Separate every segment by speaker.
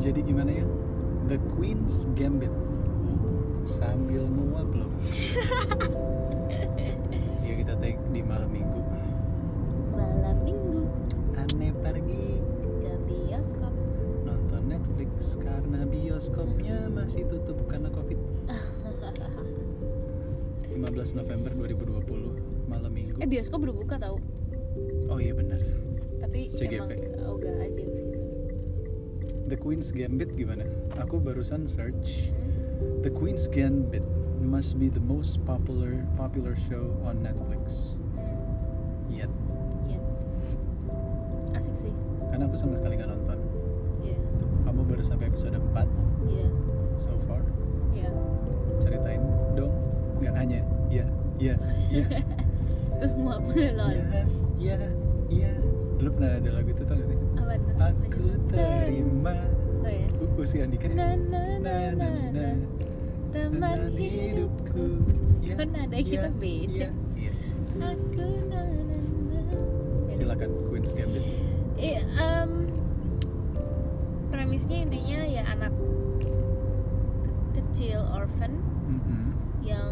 Speaker 1: Jadi gimana ya? The Queen's Gambit. Sambil muap loh. Yuk kita take di malam minggu.
Speaker 2: malam minggu
Speaker 1: Aneh pergi
Speaker 2: ke bioskop
Speaker 1: nonton Netflix karena bioskopnya masih tutup karena Covid. 15 November 2020 malam minggu.
Speaker 2: eh bioskop baru buka tau
Speaker 1: Oh iya benar.
Speaker 2: tapi
Speaker 1: CGV.
Speaker 2: emang ogah aja ke situ
Speaker 1: The Queen's Gambit gimana? Aku barusan search The Queen's Gambit must be the most popular popular show on Netflix
Speaker 2: Hmm,
Speaker 1: yet.
Speaker 2: iya. asik sih
Speaker 1: Karena aku sama sekali nggak nonton.
Speaker 2: iya
Speaker 1: Kamu baru sampai episode 4
Speaker 2: iya
Speaker 1: so far.
Speaker 2: iya
Speaker 1: Ceritain dong. Nggak hanya ya, ya, ya,
Speaker 2: terus muap lol
Speaker 1: ya, ya, ya. Lu pernah ada lagu itu tau gak sih?
Speaker 2: apa tuh
Speaker 1: Aku terima
Speaker 2: oh, ya.
Speaker 1: U- Usia Andika
Speaker 2: na na na
Speaker 1: Na,
Speaker 2: na, na.
Speaker 1: Teman
Speaker 2: teman hidupku
Speaker 1: hidupku Ya,
Speaker 2: Kan nada
Speaker 1: ya,
Speaker 2: kita beda.
Speaker 1: ya, ya.
Speaker 2: aku na na na
Speaker 1: Silakan Queen's Gambit
Speaker 2: Eh, em, premisnya intinya ya anak ke- kecil orphan
Speaker 1: Mhm,
Speaker 2: yang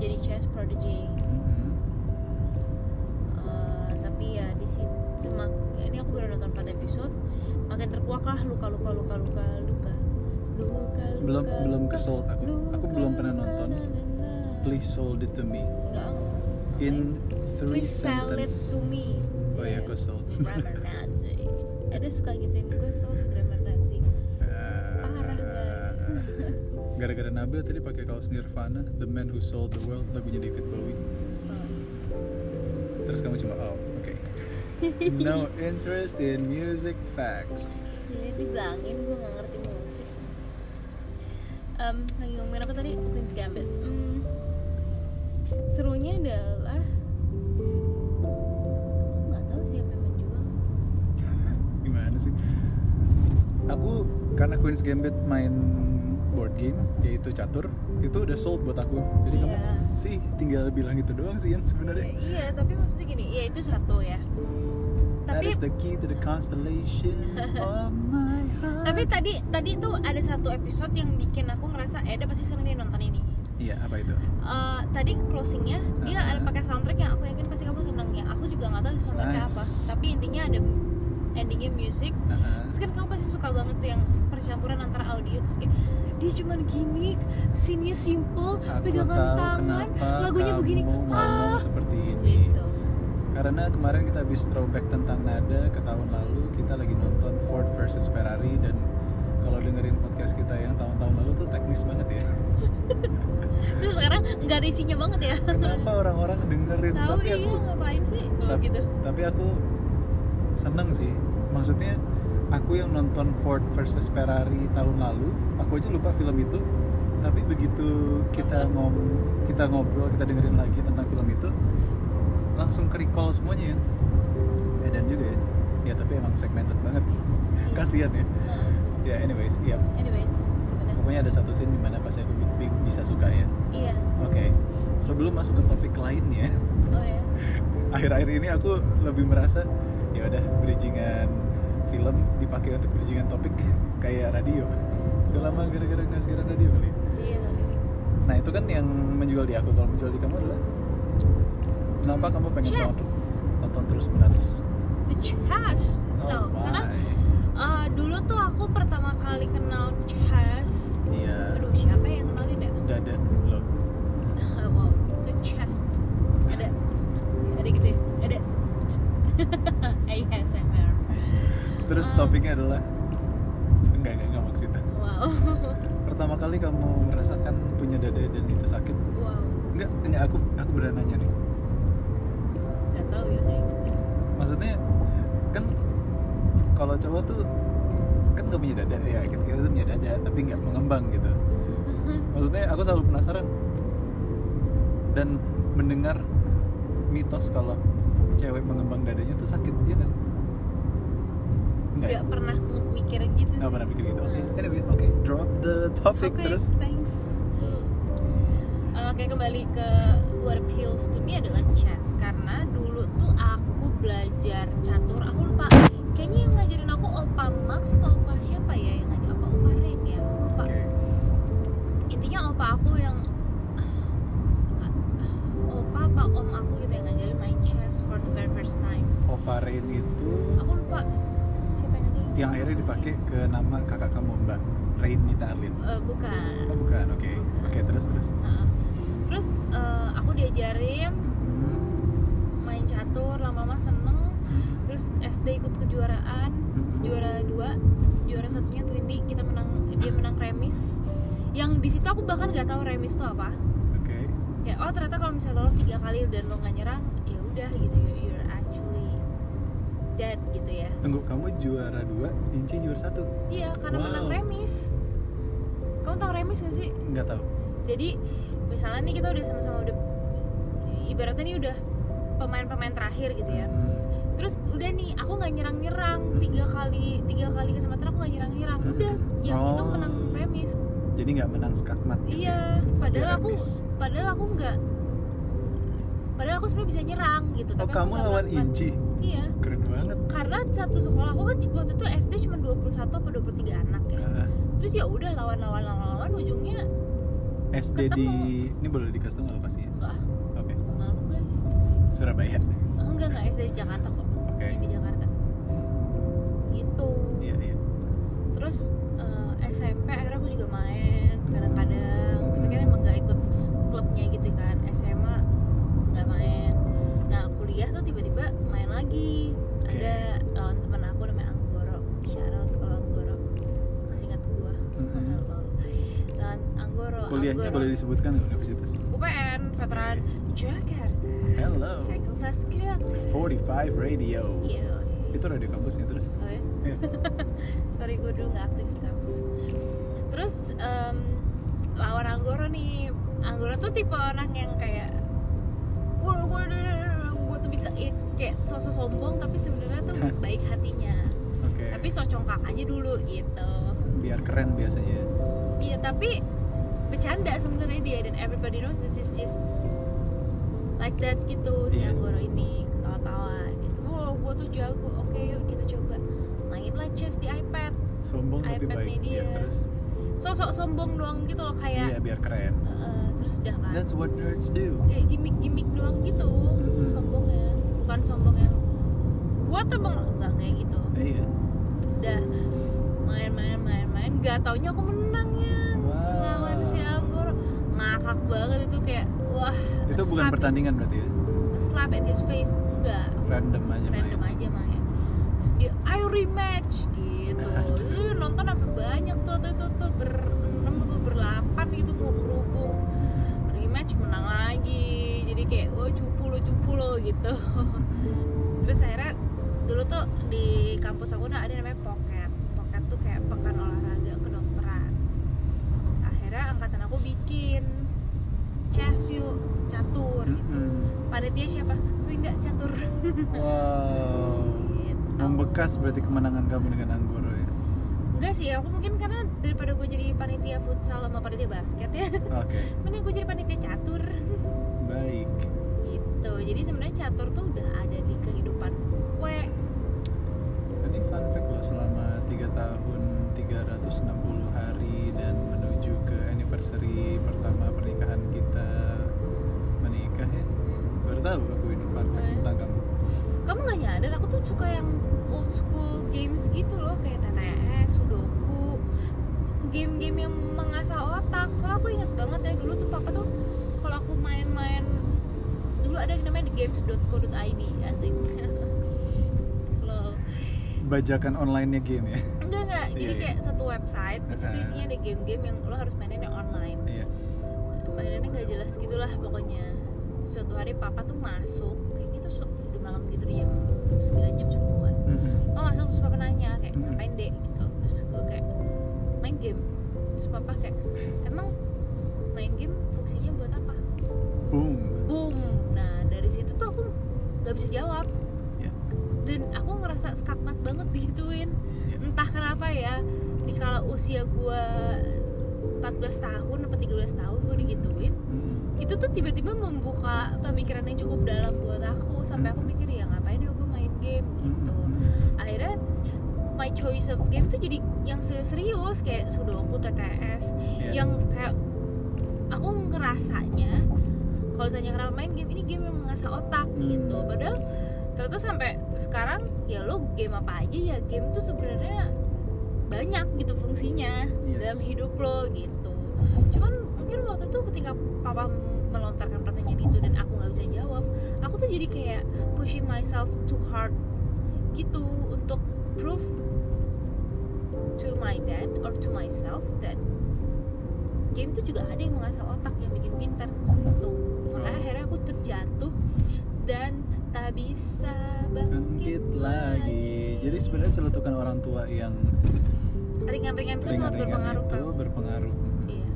Speaker 2: jadi chess prodigy
Speaker 1: mhm.
Speaker 2: Eh, tapi ya di sini semak ini aku baru nonton 4 episode makin terkuaklah luka luka luka luka luka luka luka
Speaker 1: Belum belum
Speaker 2: luka,
Speaker 1: kesel aku
Speaker 2: luka,
Speaker 1: Aku belum pernah
Speaker 2: luka,
Speaker 1: nonton
Speaker 2: na, na, na.
Speaker 1: Please sold it to me
Speaker 2: Enggak, enggak.
Speaker 1: In three
Speaker 2: please sell it
Speaker 1: sentences
Speaker 2: to me
Speaker 1: Oh ya aku sold
Speaker 2: grammar Nazi ada suka gituin gue soal grammar Nazi parah guys
Speaker 1: Gara-gara Nabil tadi pakai kaos Nirvana, The Man Who Sold the World, lagunya David Bowie. Terus kamu cuma oh, oke. no interest in music facts.
Speaker 2: Gila Iya, dibilangin gue gak ngerti musik Em, Lagi ngomongin apa tadi? Queen's Gambit Hmm, Serunya adalah Aku gak tahu siapa yang menjual
Speaker 1: Gimana sih? Aku karena Queen's Gambit main board game yaitu catur itu udah sold buat aku jadi kamu
Speaker 2: Iya.
Speaker 1: sih tinggal bilang itu doang sih Yan sebenarnya
Speaker 2: Ya, Iya tapi maksudnya gini Ya itu satu ya
Speaker 1: that
Speaker 2: Tapi
Speaker 1: is the key to the constellation of my heart
Speaker 2: tapi tadi tadi tuh ada satu episode yang bikin aku ngerasa eh dia pasti seneng nih nonton ini
Speaker 1: iya apa itu
Speaker 2: Eh, tadi closingnya dia
Speaker 1: Uh-huh.
Speaker 2: ada pakai soundtrack yang aku yakin pasti kamu seneng ya aku juga nggak tahu soundtracknya
Speaker 1: Nice.
Speaker 2: apa tapi intinya ada endingnya music
Speaker 1: Heeh.
Speaker 2: terus kan kamu pasti suka banget tuh yang percampuran antara audio terus kayak dia cuman gini scene-nya simple
Speaker 1: Aku
Speaker 2: pegangan
Speaker 1: tahu
Speaker 2: tangan
Speaker 1: kenapa
Speaker 2: lagunya
Speaker 1: kamu
Speaker 2: begini
Speaker 1: ngomong
Speaker 2: ah
Speaker 1: seperti ini
Speaker 2: gitu
Speaker 1: karena kemarin kita habis throwback tentang nada ke tahun lalu kita lagi nonton Ford versus Ferrari dan kalau dengerin podcast kita yang tahun-tahun lalu tuh teknis banget ya
Speaker 2: terus sekarang nggak ada isinya banget ya
Speaker 1: kenapa orang-orang dengerin
Speaker 2: tahu
Speaker 1: tapi
Speaker 2: iya
Speaker 1: ya aku
Speaker 2: ngapain sih kalau
Speaker 1: Tapi-
Speaker 2: gitu
Speaker 1: tapi aku seneng sih maksudnya aku yang nonton Ford versus Ferrari tahun lalu aku aja lupa film itu tapi begitu kita ngom kita ngobrol kita dengerin lagi tentang film itu langsung ke recall semuanya ya edan juga ya ya tapi emang segmented banget kasihan ya
Speaker 2: Nah,
Speaker 1: ya anyways ya
Speaker 2: anyways udah.
Speaker 1: pokoknya ada satu scene dimana pasti aku bi- bi- bisa suka ya
Speaker 2: iya
Speaker 1: oke sebelum masuk ke topik lainnya
Speaker 2: oh ya
Speaker 1: akhir-akhir ini aku lebih merasa ya udah bridgingan film dipakai untuk bridgingan topik kayak radio udah lama gara-gara nggak siaran radio kali ya.
Speaker 2: iya
Speaker 1: nah itu kan yang menjual di aku kalau menjual di kamu adalah kenapa kamu pengen
Speaker 2: chess
Speaker 1: tonton, tonton terus Oh, menerus
Speaker 2: the chess itself karena Eh, dulu tuh aku pertama kali kenal chess.
Speaker 1: Iya.
Speaker 2: Aduh, siapa yang kenalin ya?
Speaker 1: udah ada belum
Speaker 2: wow, the chest. Ada ada gitu ya. Ada ASMR.
Speaker 1: terus
Speaker 2: Ah.
Speaker 1: topiknya adalah enggak enggak enggak maksudnya
Speaker 2: Wow.
Speaker 1: pertama kali kamu merasakan punya dada dan itu sakit
Speaker 2: Wow.
Speaker 1: enggak enggak aku aku beneran nanya nih
Speaker 2: Gak tahu ya kayak gitu.
Speaker 1: maksudnya kan kalau cowok tuh kan gak punya dada ya kita, kita tuh punya dada tapi nggak mengembang gitu maksudnya aku selalu penasaran dan mendengar mitos kalau cewek mengembang dadanya tuh sakit ya nggak sih nggak ya?
Speaker 2: Gak pernah mikir gitu sih.
Speaker 1: nggak pernah mikir gitu oke
Speaker 2: Nah.
Speaker 1: anyways oke drop the topic terus
Speaker 2: thanks. Oke kembali ke what appeals to me adalah chess karena dulu tuh aku belajar aku suka opa siapa ya yang ngajak apa opa Rin ya lupa
Speaker 1: Oke.
Speaker 2: intinya opa aku yang opa apa om aku gitu yang ngajarin main chess for the very first time
Speaker 1: Opa Rain itu
Speaker 2: aku lupa siapa yang ngajarin
Speaker 1: yang akhirnya dipakai ke nama kakak kamu Mbak Rain Nita Arlin.
Speaker 2: Eh, bukan
Speaker 1: Oh bukan, oke,
Speaker 2: Bukan.
Speaker 1: oke terus terus.
Speaker 2: Nah, terus eh, aku diajarin
Speaker 1: Mhm.
Speaker 2: main catur lama-lama seneng
Speaker 1: Mhm.
Speaker 2: terus SD ikut kejuaraan
Speaker 1: Mhm.
Speaker 2: juara dua juara satunya Twindy kita menang dia menang remis yang di situ aku bahkan nggak tahu remis itu apa
Speaker 1: Oke.
Speaker 2: kayak oh ternyata kalau misalnya lo tiga kali dan lo nggak nyerang ya udah gitu you- you're actually dead gitu ya
Speaker 1: Tunggu kamu juara dua, Inci juara satu.
Speaker 2: iya karena
Speaker 1: Wow.
Speaker 2: menang remis kamu tahu remis gak sih
Speaker 1: Nggak tahu.
Speaker 2: jadi misalnya nih kita udah sama-sama udah ibaratnya nih udah pemain-pemain terakhir gitu ya
Speaker 1: Mhm.
Speaker 2: terus udah nih aku nggak nyerang nyerang tiga kali tiga kali kesempatan aku nggak nyerang nyerang udah yang itu
Speaker 1: Hmm. Oh.
Speaker 2: menang remis
Speaker 1: Jadi nggak menang skakmat. gitu ya?
Speaker 2: iya padahal
Speaker 1: Biar
Speaker 2: aku
Speaker 1: remis.
Speaker 2: padahal aku nggak padahal aku sebenarnya bisa nyerang gitu
Speaker 1: Oh
Speaker 2: tapi aku
Speaker 1: kamu
Speaker 2: nggak
Speaker 1: lawan
Speaker 2: melakukan-
Speaker 1: Inci,
Speaker 2: iya
Speaker 1: keren banget.
Speaker 2: karena satu sekolah aku kan waktu itu SD cuma 21 atau 23 anak ya
Speaker 1: Ah,
Speaker 2: terus ya udah lawan lawan lawan lawan ujungnya
Speaker 1: SD di ini boleh dikasih nggak lokasinya?
Speaker 2: enggak
Speaker 1: Oke,
Speaker 2: malu guys
Speaker 1: Surabaya. Oke.
Speaker 2: enggak enggak SD di Jakarta kok yang di Jakarta gitu
Speaker 1: Iya iya.
Speaker 2: terus eh, SMP akhirnya aku juga main kadang-kadang tapi kan emang nggak ikut klubnya gitu kan SMA nggak main nah kuliah tuh tiba-tiba main lagi
Speaker 1: Oke.
Speaker 2: ada lawan teman aku namanya Anggoro shout out kalau Anggoro kasih ingat gua
Speaker 1: Mhm.
Speaker 2: Lol. dan Anggoro
Speaker 1: Kuliahnya
Speaker 2: Anggoro.
Speaker 1: boleh disebutkan nggak universitas?
Speaker 2: UPN veteran Jakarta
Speaker 1: Hello.
Speaker 2: Fakultas Kreatif
Speaker 1: 45 Radio.
Speaker 2: iya
Speaker 1: Itu radio kampusnya terus.
Speaker 2: Oh ya?
Speaker 1: Iya.
Speaker 2: Sorry gue dulu nggak aktif di kampus. Terus em, lawan Anggoro nih, Anggoro tuh tipe orang yang kayak gue gue gue tuh bisa ya, kayak sosok sombong tapi sebenarnya tuh baik hatinya.
Speaker 1: Oke.
Speaker 2: Tapi sok congkak aja dulu gitu.
Speaker 1: biar keren biasanya. ya.
Speaker 2: Iya tapi bercanda sebenarnya dia dan everybody knows this is just like that gitu si
Speaker 1: Iya.
Speaker 2: Anggoro ini ketawa-tawa gitu. Wow, gue tuh jago. Oke, yuk kita coba main lah chess di iPad.
Speaker 1: Sombong tapi
Speaker 2: iPad
Speaker 1: baik.
Speaker 2: media.
Speaker 1: Iya terus.
Speaker 2: sosok sombong doang gitu loh
Speaker 1: Iya
Speaker 2: kayak
Speaker 1: biar keren.
Speaker 2: eh, terus udah kan
Speaker 1: That's what nerds do.
Speaker 2: kayak gimmick-gimmick doang gitu
Speaker 1: Mhm.
Speaker 2: sombongnya bukan sombong yang buat abang enggak kayak gitu
Speaker 1: Iya.
Speaker 2: udah main-main main-main gak taunya aku menangnya lawan si Anggur ngakak banget itu kayak wah
Speaker 1: Itu bukan
Speaker 2: slap-
Speaker 1: pertandingan berarti ya?
Speaker 2: slap in his face enggak
Speaker 1: Random aja
Speaker 2: random
Speaker 1: main.
Speaker 2: aja main terus dia ayo rematch gitu terus dia nonton apa banyak tuh tuh tuh, tuh berenam apa berlapan gitu ngerubung rematch menang lagi jadi kayak oh cupu lo cupu lo gitu terus akhirnya dulu tuh di kampus aku nah ada namanya pocket pocket tuh kayak pekan olahraga kedokteran akhirnya angkatan aku bikin chess yuk catur gitu
Speaker 1: Mm-mm.
Speaker 2: panitia siapa tuh enggak catur
Speaker 1: Wow.
Speaker 2: Gitu.
Speaker 1: Membekas berarti kemenangan kamu dengan Anggoro ya.
Speaker 2: Enggak sih, aku mungkin karena daripada gue jadi panitia futsal sama panitia basket ya
Speaker 1: Oke,
Speaker 2: Mending gue jadi panitia catur
Speaker 1: baik.
Speaker 2: Gitu, jadi sebenarnya catur tuh udah ada di kehidupan gue
Speaker 1: Ini fun fact loh selama 3 tahun 360 hari dan menuju ke anniversary pertama pernikahan kita menikah ya. Baru tahu aku ini fun fact
Speaker 2: Eh.
Speaker 1: tentang kamu.
Speaker 2: Kamu gak nyadar, aku tuh suka yang old school games gitu loh Kayak TTS, Sudoku Game-game yang mengasah otak Soalnya aku inget banget ya, dulu tuh papa tuh kalau aku main-main Dulu ada yang namanya di games.co.id, asik Lol
Speaker 1: Bajakan online-nya game ya.
Speaker 2: enggak enggak jadi
Speaker 1: Iya, iya.
Speaker 2: kayak satu website di situ
Speaker 1: Heeh.
Speaker 2: isinya ada game-game yang lo harus mainin yang online
Speaker 1: Iya.
Speaker 2: mainannya nggak jelas gitulah pokoknya suatu hari papa tuh masuk kayaknya tuh su- udah malam gitu di jam 9 jam 10-an
Speaker 1: Mm-mm.
Speaker 2: oh masuk terus papa nanya kayak
Speaker 1: Hmm.
Speaker 2: ngapain dek gitu terus gue kayak main game terus papa kayak emang main game fungsinya buat apa
Speaker 1: Boom.
Speaker 2: boom nah dari situ tuh aku nggak bisa jawab
Speaker 1: Ya.
Speaker 2: dan aku ngerasa skakmat banget digituin
Speaker 1: Ya.
Speaker 2: entah kenapa ya di kala usia gue 14 tahun atau 13 tahun gue digituin
Speaker 1: Mm-mm.
Speaker 2: itu tuh tiba-tiba membuka pemikiran yang cukup dalam buat aku sampai aku mikir ya ngapain ya gue main game gitu
Speaker 1: Mm-mm.
Speaker 2: akhirnya my choice of game tuh jadi yang serius-serius kayak sudoku TTS
Speaker 1: Iya.
Speaker 2: yang kayak aku ngerasanya kalau tanya kenapa main game ini game yang mengasah otak
Speaker 1: Hmm.
Speaker 2: gitu padahal ternyata sampai sekarang ya lo game apa aja ya game tuh sebenarnya banyak gitu fungsinya
Speaker 1: Iya. Yes.
Speaker 2: dalam hidup lo gitu cuman mungkin waktu itu ketika papa m- melontarkan pertanyaan itu dan aku nggak bisa jawab aku tuh jadi kayak pushing myself too hard gitu untuk prove to my dad or to myself that game tuh juga ada yang mengasah otak yang bikin pintar gitu makanya
Speaker 1: Oh.
Speaker 2: akhirnya aku terjatuh dan tak bisa bangkit
Speaker 1: bangkit lagi jadi sebenarnya celutukan orang tua yang
Speaker 2: ringan-ringan itu sangat
Speaker 1: ringan-ringan itu
Speaker 2: berpengaruh kan
Speaker 1: berpengaruh
Speaker 2: iya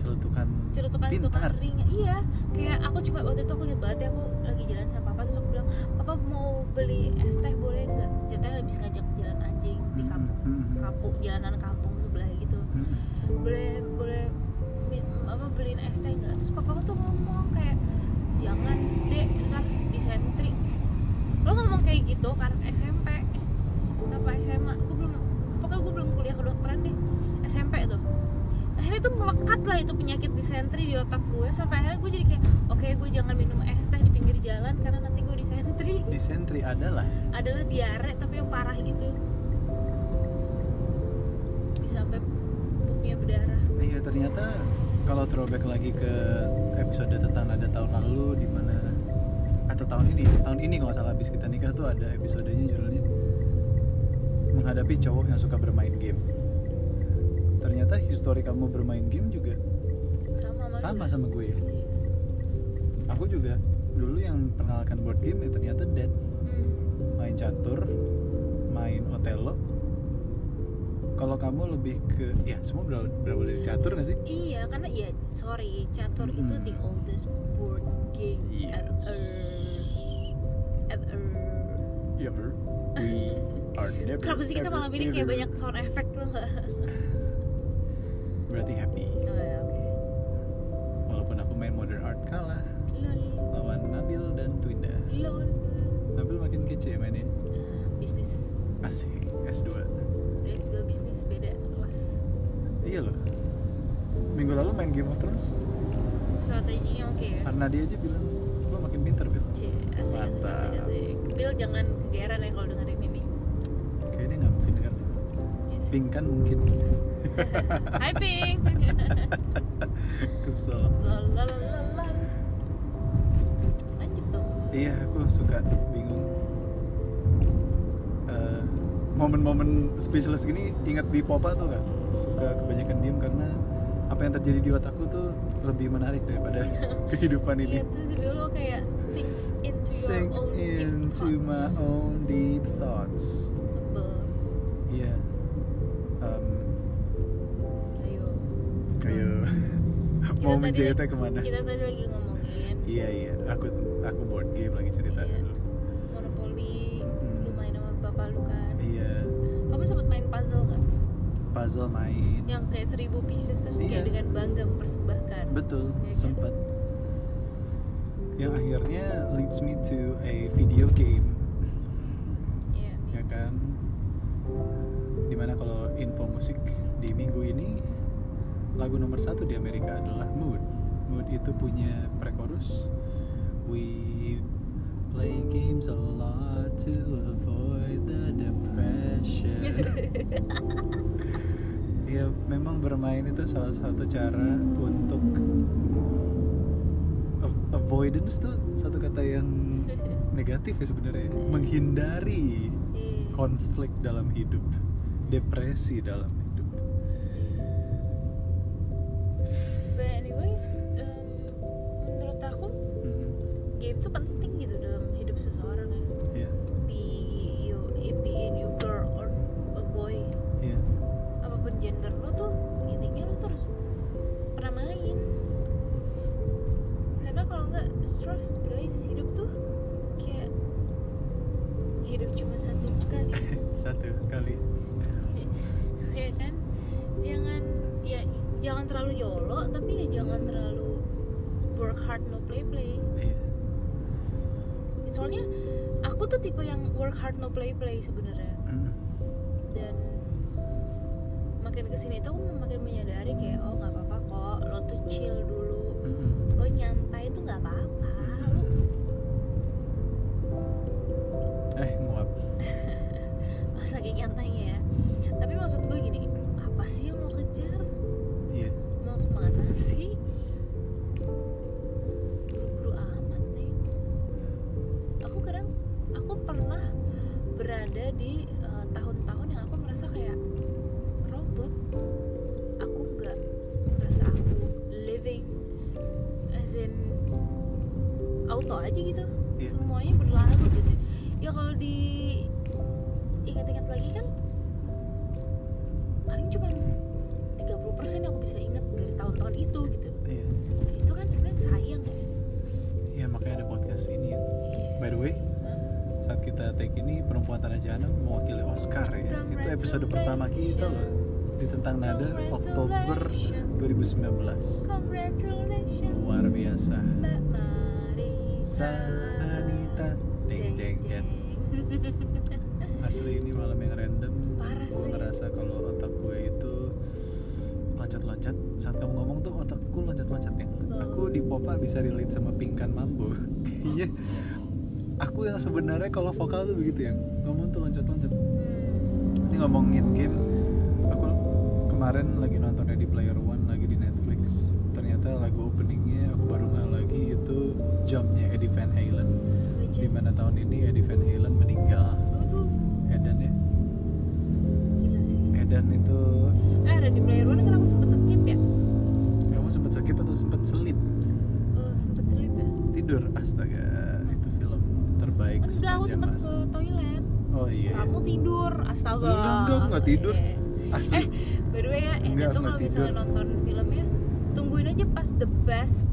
Speaker 1: celutukan
Speaker 2: celutukan
Speaker 1: Pintar.
Speaker 2: celutukan ringan iya kayak aku cuma waktu itu aku ingat banget ya, aku lagi jalan sama papa terus aku bilang papa mau beli es teh boleh nggak ceritanya habis ngajak jalan anjing di kampung
Speaker 1: Mm, mm, mm.
Speaker 2: kampung jalanan kampung sebelah gitu
Speaker 1: Mm.
Speaker 2: boleh boleh min- apa beliin es teh nggak terus papa aku tuh ngomong kayak jangan dek ntar disentri lo ngomong kayak gitu kan SMP apa SMA gue belum pokoknya gue belum kuliah kedokteran deh SMP tuh akhirnya itu melekat lah itu penyakit disentri di otak gue sampai akhirnya gue jadi kayak oke gue jangan minum es teh di pinggir jalan karena nanti gue disentri
Speaker 1: disentri adalah
Speaker 2: adalah diare tapi yang parah gitu bisa sampai pupnya berdarah
Speaker 1: Iya ternyata kalau throwback lagi ke episode tentang ada tahun lalu di mana atau tahun ini tahun ini kalau nggak salah habis kita nikah tuh ada episodenya judulnya menghadapi cowok yang suka bermain game. Ternyata histori kamu bermain game juga
Speaker 2: sama sama,
Speaker 1: sama sama gue ya. Aku juga dulu yang perkenalkan board game ya ternyata Dad
Speaker 2: Hmm.
Speaker 1: main catur, main Otelo. Kalau kamu lebih ke ya semua berawal, berawal dari catur nggak sih?
Speaker 2: iya karena ya sorry catur itu
Speaker 1: Mm-mm.
Speaker 2: the oldest board game at
Speaker 1: Hmm. Yes.
Speaker 2: earth at earth
Speaker 1: Ya bro, we are never.
Speaker 2: kenapa sih kita
Speaker 1: ever,
Speaker 2: malam ini kayak
Speaker 1: ever
Speaker 2: banyak sound effect tuh nggak
Speaker 1: Berarti happy.
Speaker 2: oh, ya, oke
Speaker 1: Walaupun aku main modern art kalah
Speaker 2: lol
Speaker 1: lawan Nabil dan Twinda.
Speaker 2: lol
Speaker 1: Nabil makin kece ya mainnya.
Speaker 2: Ah, bisnis
Speaker 1: Asik, S2.
Speaker 2: race dua bisnis beda kelas
Speaker 1: Iya loh. Minggu lalu main Game of Thrones,
Speaker 2: strateginya oke ya
Speaker 1: karena dia aja bilang, lo makin pinter Bil.
Speaker 2: Cie, asik, asik, asik,
Speaker 1: Mantap.
Speaker 2: asik. Bill jangan kegeeran ya kalau dengerin ini.
Speaker 1: Kayaknya nggak mungkin dengar.
Speaker 2: Yes.
Speaker 1: Pink kan mungkin.
Speaker 2: Hai Pink.
Speaker 1: Kesel.
Speaker 2: Lalalala. Lanjut dong.
Speaker 1: Iya, aku suka bingung. Eh, Momen-momen speechless gini ingat di Popa tuh nggak? Suka kebanyakan diem karena apa yang terjadi di otakku tuh lebih menarik daripada kehidupan ini.
Speaker 2: Iya tuh si Bill lo kayak sink into
Speaker 1: Sink
Speaker 2: your own deep
Speaker 1: into my
Speaker 2: thoughts.
Speaker 1: own deep thoughts.
Speaker 2: Sebel.
Speaker 1: Iya. Em,
Speaker 2: Ayo.
Speaker 1: ayo.
Speaker 2: Hmm. Kita
Speaker 1: Mau
Speaker 2: tadi
Speaker 1: menjahitnya
Speaker 2: lagi-
Speaker 1: kemana?
Speaker 2: Kita tadi lagi ngomongin
Speaker 1: Iya iya. Aku aku board game lagi cerita
Speaker 2: Iya.
Speaker 1: dulu.
Speaker 2: monopoli.
Speaker 1: Mm-mm.
Speaker 2: Lu main sama bapak lu kan.
Speaker 1: Iya.
Speaker 2: Kamu sempat main puzzle nggak?
Speaker 1: Puzzle main.
Speaker 2: Yang kayak seribu pieces terus
Speaker 1: Iya.
Speaker 2: kayak dengan bangga mempersembahkan.
Speaker 1: Betul,
Speaker 2: Ya kan?
Speaker 1: sempat. Yang akhirnya leads me to a video game,
Speaker 2: Iya.
Speaker 1: ya kan? Dimana kalau info musik di minggu ini lagu nomor satu di Amerika adalah Mood. Mood itu punya pre-chorus. We play games a lot to avoid the depression. ya memang bermain itu salah satu cara untuk a- avoidance tuh satu kata yang negatif ya sebenarnya menghindari
Speaker 2: Iya.
Speaker 1: konflik dalam hidup depresi dalam hidup
Speaker 2: But anyways, um, menurut aku
Speaker 1: Mhm,
Speaker 2: game tuh penting gitu dalam hidup seseorang ya.
Speaker 1: iya
Speaker 2: Be you, be in you girl or a boy,
Speaker 1: iya
Speaker 2: apapun gender lo tuh intinya lo terus pernah main. Karena kalau nggak stress guys hidup tuh kayak hidup cuma satu kali.
Speaker 1: satu kali
Speaker 2: ya kan jangan ya jangan terlalu yolo tapi ya jangan terlalu work hard no play play
Speaker 1: iya
Speaker 2: soalnya aku tuh tipe yang work hard no play play sebenarnya
Speaker 1: Mhm.
Speaker 2: dan makin kesini tuh aku makin menyadari kayak oh nggak apa-apa kok lo tuh chill dulu
Speaker 1: Mm-mm.
Speaker 2: lo nyantai tuh nggak apa-apa lo
Speaker 1: eh nguap
Speaker 2: oh, saking nyantainya ya tapi maksud gue gini apa sih yang lo kejar
Speaker 1: iya
Speaker 2: mau kemana sih buru-buru amat nih aku kadang aku pernah berada di eh, tahun-tahun yang aku merasa kayak robot aku nggak merasa aku living as in auto aja gitu
Speaker 1: Iya.
Speaker 2: semuanya berlalu gitu ya kalau di ingat-ingat lagi kan paling cuma 30% yang aku bisa ingat dari tahun-tahun itu gitu
Speaker 1: iya
Speaker 2: itu kan sebenarnya sayang ya
Speaker 1: iya makanya ada podcast ini ya. by the way
Speaker 2: Hah?
Speaker 1: saat kita take ini perempuan tanah jahanam mewakili Oscar ya itu episode pertama kita loh di tentang nada Oktober 2019
Speaker 2: congratulations
Speaker 1: luar biasa
Speaker 2: Mbak Marisa
Speaker 1: Sanita jeng jeng jeng asli ini malam yang random
Speaker 2: Parah
Speaker 1: gue
Speaker 2: sih.
Speaker 1: ngerasa kalau otak gue itu loncat-loncat saat kamu ngomong tuh otakku loncat-loncat ya aku di popa bisa relate sama pingkan mambo iya aku yang sebenarnya kalau vokal tuh begitu ya ngomong tuh loncat-loncat ini ngomongin game aku kemarin lagi nonton Ready Player One lagi di Netflix ternyata lagu openingnya aku baru nggak lagi itu jumpnya Eddie Van Halen di mana tahun ini Eddie Van Halen meninggal Edan ya
Speaker 2: gila sih
Speaker 1: Edan itu
Speaker 2: eh Ready Player One kan aku sempet skip ya
Speaker 1: kamu sempet sakit atau sempet selip
Speaker 2: oh, sempet selip ya
Speaker 1: tidur astaga itu film terbaik
Speaker 2: enggak aku
Speaker 1: sepanjang
Speaker 2: sempet
Speaker 1: masa.
Speaker 2: ke toilet
Speaker 1: oh iya
Speaker 2: kamu tidur astaga
Speaker 1: Enggak, enggak, aku nggak tidur.
Speaker 2: Iya.
Speaker 1: asli
Speaker 2: Eh, by the way ya,
Speaker 1: Enggak,
Speaker 2: Enda tuh
Speaker 1: aku
Speaker 2: kalau
Speaker 1: nggak
Speaker 2: misalnya
Speaker 1: tidur.
Speaker 2: nonton filmnya tungguin aja pas the best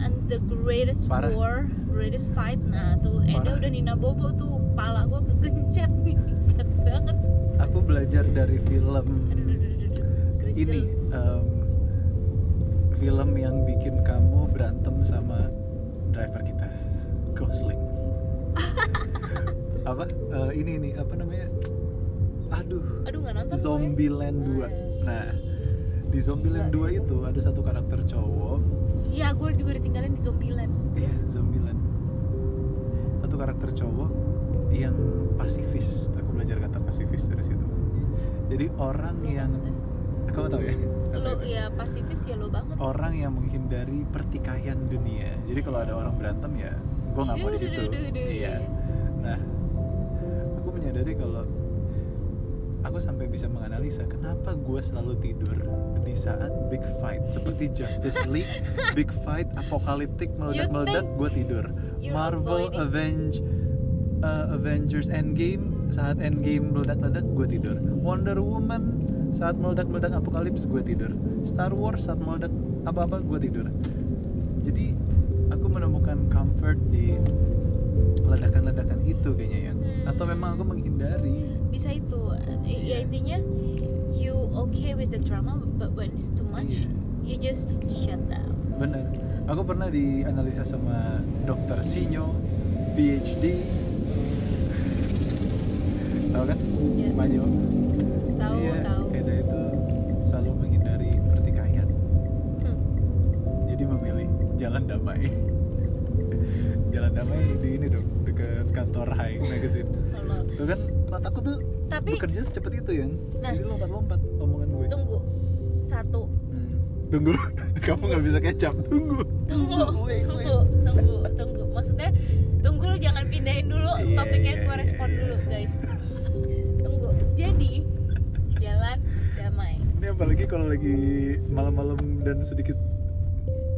Speaker 2: and the greatest
Speaker 1: Parah.
Speaker 2: war, greatest fight. Nah, tuh Enda
Speaker 1: Parah.
Speaker 2: udah Nina Bobo tuh, pala gua kegencet nih, Kencet banget.
Speaker 1: aku belajar dari film
Speaker 2: Aduh, aduh, aduh, aduh, aduh. Gercel.
Speaker 1: ini em, film yang bikin kamu berantem sama driver kita Gosling apa Eh, ini nih apa namanya aduh
Speaker 2: Aduh, nggak nonton. ya. gue.
Speaker 1: Zombieland 2 nah di Zombieland 2 itu ada satu karakter cowok
Speaker 2: Iya, gue juga ditinggalin di Zombieland.
Speaker 1: iya Zombieland satu karakter cowok yang pasifis aku belajar kata pasifis dari situ jadi orang yang kamu tahu ya Apa itu?
Speaker 2: Lo
Speaker 1: Oh.
Speaker 2: ya pasifis ya lo banget.
Speaker 1: orang yang menghindari pertikaian dunia. Jadi kalau ada orang berantem ya, gue nggak mau di situ.
Speaker 2: Shudududu.
Speaker 1: Iya. Nah, aku menyadari kalau aku sampai bisa menganalisa kenapa gue selalu tidur di saat big fight seperti Justice League, big fight apokaliptik meledak-meledak, gue tidur.
Speaker 2: You're
Speaker 1: Marvel
Speaker 2: avoiding.
Speaker 1: Avenge uh, Avengers Endgame saat Endgame meledak-ledak gue tidur Wonder Woman saat meledak-meledak apokalips gue tidur Star Wars saat meledak apa-apa gue tidur jadi aku menemukan comfort di ledakan-ledakan itu kayaknya ya
Speaker 2: Hmm.
Speaker 1: atau memang aku menghindari
Speaker 2: Bisa itu. Eh, Ya
Speaker 1: Iya.
Speaker 2: intinya you okay with the drama but when it's too much
Speaker 1: Iya.
Speaker 2: you just shut down.
Speaker 1: bener aku pernah dianalisa sama dokter Sinyo PhD tahu kan
Speaker 2: Ya,
Speaker 1: Manyo
Speaker 2: tahu
Speaker 1: Iya,
Speaker 2: tahu.
Speaker 1: Eda itu selalu menghindari pertikaian.
Speaker 2: Hmm.
Speaker 1: Jadi memilih jalan damai. jalan damai di ini dong dekat kantor High Magazine.
Speaker 2: Kalau-
Speaker 1: Tuh kan otakku tuh
Speaker 2: tapi
Speaker 1: bekerja secepat itu ya.
Speaker 2: Nah.
Speaker 1: Jadi lompat-lompat omongan gue.
Speaker 2: tunggu satu
Speaker 1: Hmm. Tunggu, kamu nggak bisa kecap. Tunggu.
Speaker 2: tunggu
Speaker 1: Wait, wait.
Speaker 2: tunggu tunggu tunggu maksudnya tunggu lu jangan pindahin dulu
Speaker 1: Iya,
Speaker 2: topiknya
Speaker 1: iya,
Speaker 2: gue
Speaker 1: iya,
Speaker 2: respon
Speaker 1: iya.
Speaker 2: dulu guys tunggu jadi jalan damai
Speaker 1: Ini apalagi kalau lagi malam-malam dan sedikit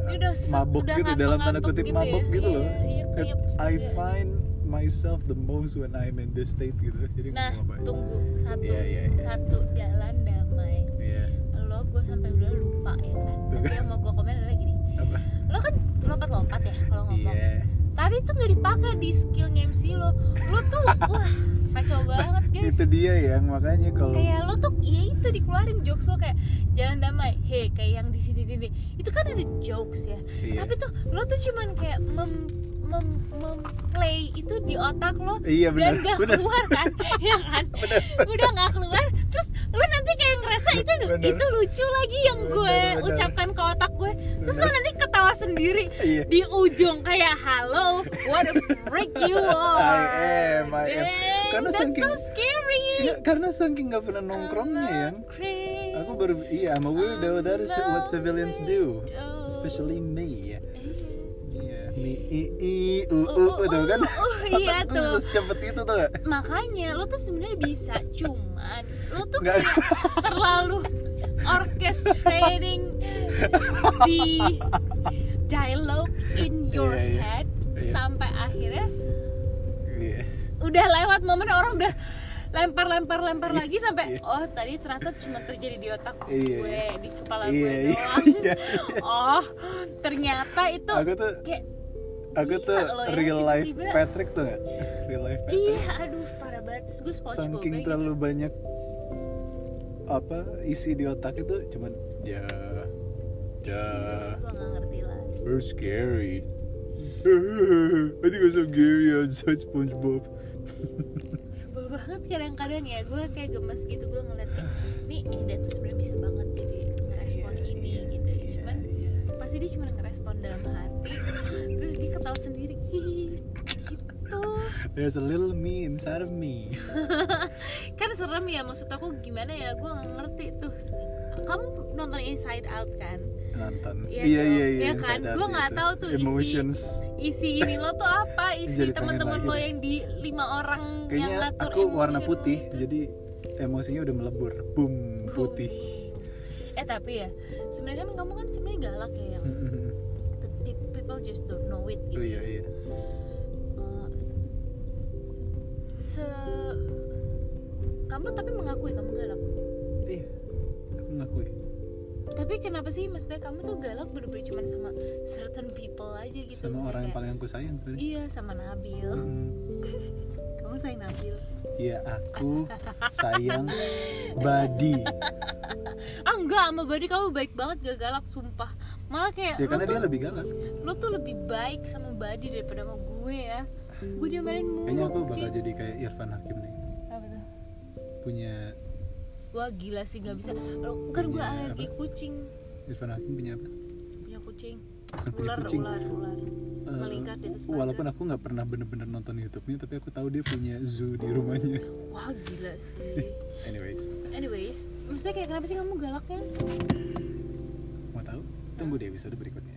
Speaker 2: ini udah se-
Speaker 1: mabuk
Speaker 2: udah
Speaker 1: gitu dalam tanda
Speaker 2: ngantuk-ngantuk
Speaker 1: kutip
Speaker 2: gitu
Speaker 1: mabuk
Speaker 2: ya.
Speaker 1: gitu
Speaker 2: Iya,
Speaker 1: loh.
Speaker 2: iya, keringat
Speaker 1: I
Speaker 2: juga.
Speaker 1: find myself the most when I'm in this state gitu. Jadi
Speaker 2: nah
Speaker 1: ngomong apa aja.
Speaker 2: tunggu satu
Speaker 1: Iya, iya, iya.
Speaker 2: satu jalan damai
Speaker 1: Iya.
Speaker 2: lo gue sampai udah lupa ya kan
Speaker 1: Tuh
Speaker 2: tapi
Speaker 1: kan.
Speaker 2: yang mau gue komen adalah gini
Speaker 1: Apa?
Speaker 2: lo kan lompat-lompat ya kalau ngomong
Speaker 1: Iya.
Speaker 2: tapi itu nggak dipakai di skill MC lo lo tuh wah kacau banget guys
Speaker 1: Itu dia yang makanya kalau
Speaker 2: kayak lo tuh ya itu dikeluarin jokes lo kayak jalan damai he kayak yang di sini di sini itu kan ada jokes ya
Speaker 1: Iya.
Speaker 2: tapi tuh lo tuh cuman kayak mem- mem- memplay itu di otak lo
Speaker 1: Iya benar.
Speaker 2: dan gak
Speaker 1: Benar.
Speaker 2: keluar kan ya kan
Speaker 1: Benar.
Speaker 2: udah nggak keluar terus lu nanti kayak ngerasa itu
Speaker 1: Bener.
Speaker 2: itu lucu lagi yang
Speaker 1: Bener,
Speaker 2: gue
Speaker 1: bener.
Speaker 2: ucapkan ke otak gue terus lu
Speaker 1: Bener.
Speaker 2: nanti ketawa sendiri
Speaker 1: Iya.
Speaker 2: di ujung kayak halo what a freak you are
Speaker 1: I am, I am.
Speaker 2: Dang,
Speaker 1: Karena
Speaker 2: that's
Speaker 1: saking-
Speaker 2: so scary
Speaker 1: Iya, karena saking nggak pernah nongkrongnya ya.
Speaker 2: I'm a creep,
Speaker 1: Aku baru iya sama weirdo that is what civilians do.
Speaker 2: oh.
Speaker 1: Especially me.
Speaker 2: Iya.
Speaker 1: Iya. Me i i u
Speaker 2: Uh,
Speaker 1: u
Speaker 2: uh,
Speaker 1: itu
Speaker 2: uh,
Speaker 1: kan.
Speaker 2: uh, iya
Speaker 1: Aku
Speaker 2: tuh.
Speaker 1: Bisa secepat itu tuh. nggak?
Speaker 2: makanya lo tuh sebenarnya bisa cuman lo tuh
Speaker 1: Nggak.
Speaker 2: kayak terlalu orchestrating the dialogue in your
Speaker 1: Iya, iya.
Speaker 2: head
Speaker 1: Iya.
Speaker 2: sampai akhirnya
Speaker 1: Iya.
Speaker 2: udah lewat momen orang udah lempar lempar lempar
Speaker 1: Iya,
Speaker 2: lagi sampai
Speaker 1: iya.
Speaker 2: oh tadi ternyata cuma terjadi di otak
Speaker 1: Iya,
Speaker 2: gue
Speaker 1: iya.
Speaker 2: di kepala
Speaker 1: Iya,
Speaker 2: gue
Speaker 1: iya,
Speaker 2: doang
Speaker 1: iya,
Speaker 2: oh ternyata itu
Speaker 1: Aku tuh
Speaker 2: kayak
Speaker 1: aku
Speaker 2: Gila
Speaker 1: tuh
Speaker 2: lo ya,
Speaker 1: real life
Speaker 2: tiba-tiba.
Speaker 1: Patrick tuh nggak? Real life Patrick.
Speaker 2: iya aduh parah banget Terus gue SpongeBob
Speaker 1: Saking
Speaker 2: gitu.
Speaker 1: terlalu banyak apa isi di otak itu cuman ya ya
Speaker 2: gue nggak ngerti lah
Speaker 1: We're scary. I think I'm so scary outside SpongeBob.
Speaker 2: sebel banget kadang-kadang ya gue kayak gemes gitu gue ngeliat kayak nih Eda tuh sebenarnya bisa banget jadi ngerespon
Speaker 1: Iya,
Speaker 2: ini gitu cuman pasti dia cuma ngerespon dalam hati terus dia ketawa sendiri hihi gitu
Speaker 1: There's a little me inside of me.
Speaker 2: kan serem ya maksud aku gimana ya gue nggak ngerti tuh kamu nonton Inside Out kan
Speaker 1: Nonton. Iya
Speaker 2: Iya dong.
Speaker 1: iya iya.
Speaker 2: Iya kan?
Speaker 1: inside out
Speaker 2: Gua nggak
Speaker 1: itu.
Speaker 2: tahu tuh isi-
Speaker 1: Emotions.
Speaker 2: isi ini lo tuh apa
Speaker 1: Jadi
Speaker 2: isi
Speaker 1: pengen
Speaker 2: teman-teman
Speaker 1: Iya, lagi
Speaker 2: lo
Speaker 1: deh.
Speaker 2: yang di lima orang yang
Speaker 1: Kayaknya
Speaker 2: ngatur ya?
Speaker 1: aku warna
Speaker 2: emotion lo
Speaker 1: putih,
Speaker 2: itu.
Speaker 1: jadi emosinya udah melebur. Boom, putih.
Speaker 2: eh tapi ya sebenarnya kan kamu kan sebenarnya galak ya yang but pe- people just don't know it
Speaker 1: Hmm. Oh
Speaker 2: gitu
Speaker 1: iya iya.
Speaker 2: Eh, se kamu tapi mengakui kamu galak
Speaker 1: Iya. Aku ngakui.
Speaker 2: tapi kenapa sih maksudnya kamu tuh galak bener-bener cuma sama certain people aja gitu
Speaker 1: Sama
Speaker 2: Maksudnya
Speaker 1: orang yang
Speaker 2: kayak,
Speaker 1: paling aku sayang sebenarnya.
Speaker 2: iya sama Nabil
Speaker 1: Hmm.
Speaker 2: kamu sayang Nabil
Speaker 1: Iya, aku sayang Badi.
Speaker 2: ah enggak sama Badi kamu baik banget gak galak sumpah malah kayak
Speaker 1: Ya
Speaker 2: lo
Speaker 1: karena
Speaker 2: tuh
Speaker 1: dia lebih galak.
Speaker 2: lo tuh lebih baik sama Badi daripada sama gue ya gue diomelin mulu
Speaker 1: Kayaknya aku bakal
Speaker 2: Ki.
Speaker 1: jadi kayak Irfan Hakim nih.
Speaker 2: Apa tuh?
Speaker 1: Punya
Speaker 2: wah gila sih nggak bisa Lo- kan gue
Speaker 1: Punya
Speaker 2: alergi kucing
Speaker 1: Irfan Hakim punya apa?
Speaker 2: punya kucing
Speaker 1: Bukan punya
Speaker 2: ular
Speaker 1: kucing.
Speaker 2: ular ular
Speaker 1: Eh,
Speaker 2: melingkar di atas pagar.
Speaker 1: walaupun aku nggak pernah bener-bener nonton YouTube-nya, tapi aku tahu dia punya zoo di rumahnya.
Speaker 2: wah gila sih
Speaker 1: Anyways,
Speaker 2: anyways maksudnya kayak kenapa sih kamu galak kan
Speaker 1: mau tahu? Tunggu di episode berikutnya.